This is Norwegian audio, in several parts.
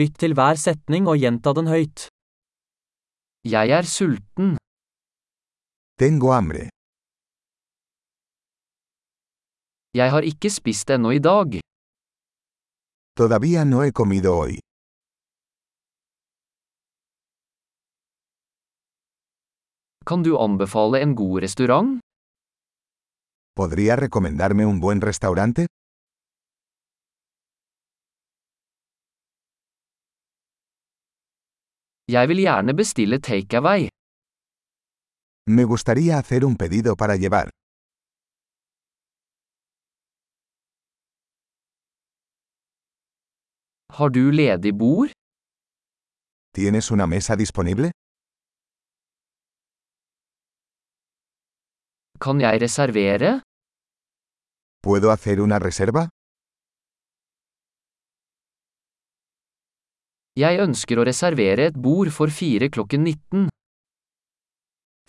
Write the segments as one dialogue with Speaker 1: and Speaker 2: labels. Speaker 1: Lytt til hver setning og gjenta den høyt. Jeg er sulten.
Speaker 2: Tengo hambre.
Speaker 1: Jeg har ikke spist ennå i dag.
Speaker 2: Todavía no he comido hoy.
Speaker 1: Kan du anbefale en god restaurant?
Speaker 2: ¿Podría recomendarme un buen restaurante?
Speaker 1: Jeg vil gjerne bestille takeaway.
Speaker 2: Me gustaría hacer un pedido para llevar.
Speaker 1: Har du ledig bord?
Speaker 2: ¿Tienes una mesa disponible?
Speaker 1: Kan jeg reservere?
Speaker 2: ¿Puedo hacer una reserva?
Speaker 1: Jeg ønsker å reservere et bord for fire klokken 19.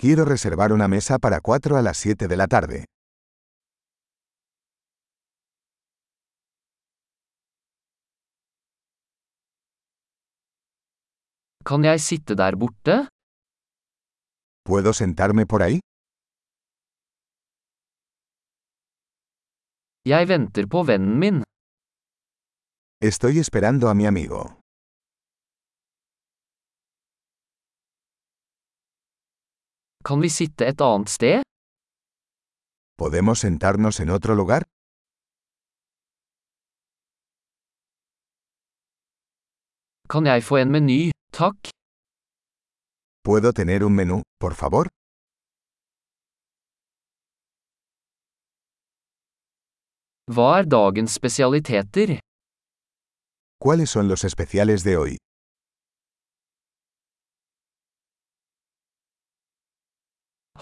Speaker 2: Quiero reservar una mesa para 4 a las 7 de la tarde.
Speaker 1: Kan jeg sitte der borte?
Speaker 2: ¿Puedo sentarme por ahí?
Speaker 1: Jeg venter på vennen min.
Speaker 2: Estoy esperando a mi amigo.
Speaker 1: Kan vi sitte et annet sted?
Speaker 2: ¿Podemos sentarnos en otro lugar?
Speaker 1: Kan jeg få en meny, takk?
Speaker 2: ¿Puedo tener un menú, por favor?
Speaker 1: Hva er dagens spesialiteter?
Speaker 2: ¿Cuáles son los especiales de hoy?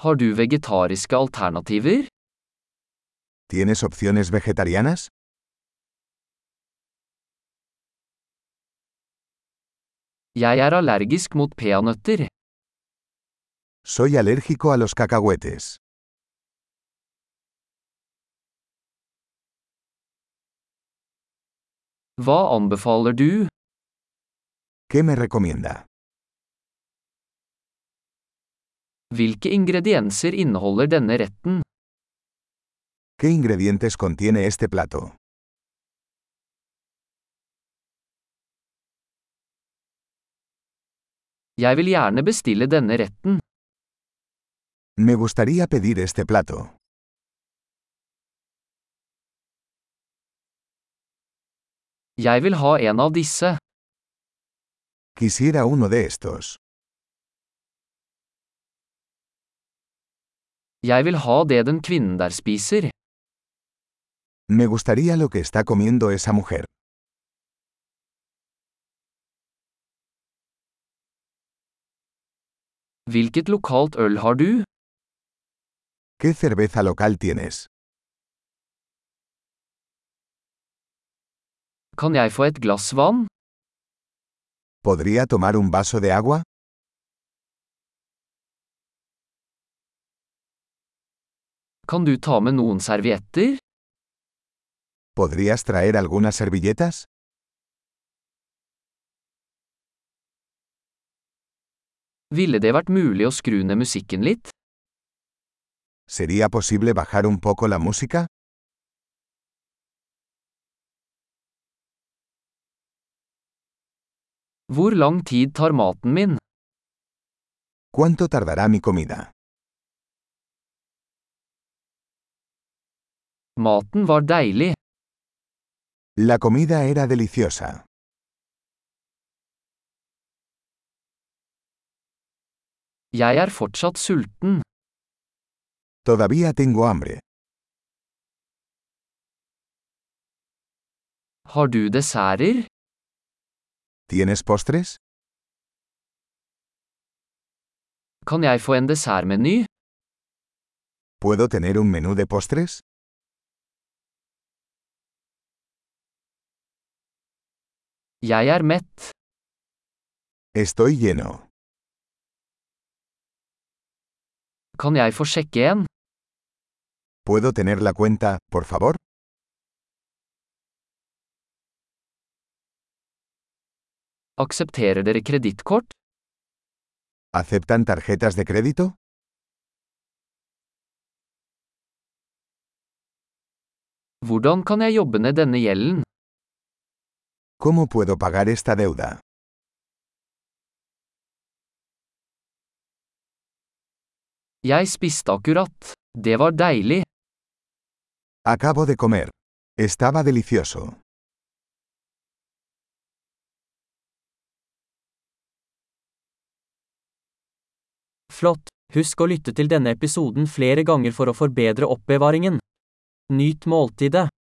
Speaker 1: Har du vegetariske alternativer?
Speaker 2: ¿Tienes opciones vegetarianas?
Speaker 1: Jeg er allergisk mot peanøtter.
Speaker 2: Soy alérgico a los cacahuetes.
Speaker 1: Hva anbefaler du?
Speaker 2: ¿Qué me recomienda?
Speaker 1: Hvilke ingredienser inneholder denne retten?
Speaker 2: ¿Qué ingredientes contiene este plato?
Speaker 1: Jeg vil gjerne bestille denne retten.
Speaker 2: Me gustaría pedir este plato.
Speaker 1: Jeg vil ha en av disse.
Speaker 2: Quisiera uno de estos.
Speaker 1: Jeg vil ha det den kvinnen der spiser.
Speaker 2: Me gustaría lo que está comiendo esa mujer.
Speaker 1: Hvilket lokalt øl har du?
Speaker 2: ¿Qué cerveza local tienes?
Speaker 1: Kan jeg få et glass vann?
Speaker 2: ¿Podría tomar un vaso de agua?
Speaker 1: Kan du ta med noen servietter?
Speaker 2: ¿Podrías traer algunas servilletas?
Speaker 1: Ville det vært mulig å skru ned musikken litt?
Speaker 2: ¿Sería posible bajar un poco la música?
Speaker 1: Hvor lang tid tar maten min?
Speaker 2: ¿Cuánto tardará mi comida?
Speaker 1: Maten var deilig.
Speaker 2: La comida era deliciosa.
Speaker 1: Jeg er fortsatt sulten.
Speaker 2: Todavía tengo hambre.
Speaker 1: Har du desserter?
Speaker 2: ¿Tienes postres?
Speaker 1: Kan jeg få en dessertmeny?
Speaker 2: ¿Puedo tener un menú de postres?
Speaker 1: Jeg er mett.
Speaker 2: Estoy lleno.
Speaker 1: Kan jeg få sjekke en?
Speaker 2: ¿Puedo tener la cuenta, por favor?
Speaker 1: Aksepterer dere kredittkort?
Speaker 2: ¿Aceptan tarjetas de crédito?
Speaker 1: Hvordan kan jeg jobbe ned denne gjelden?
Speaker 2: ¿Cómo puedo pagar esta deuda?
Speaker 1: Jeg spiste akkurat. Det var deilig.
Speaker 2: Acabo de comer. Estaba delicioso.
Speaker 1: Flott! Husk å lytte til denne episoden flere ganger for å forbedre oppbevaringen. Nyt måltidet.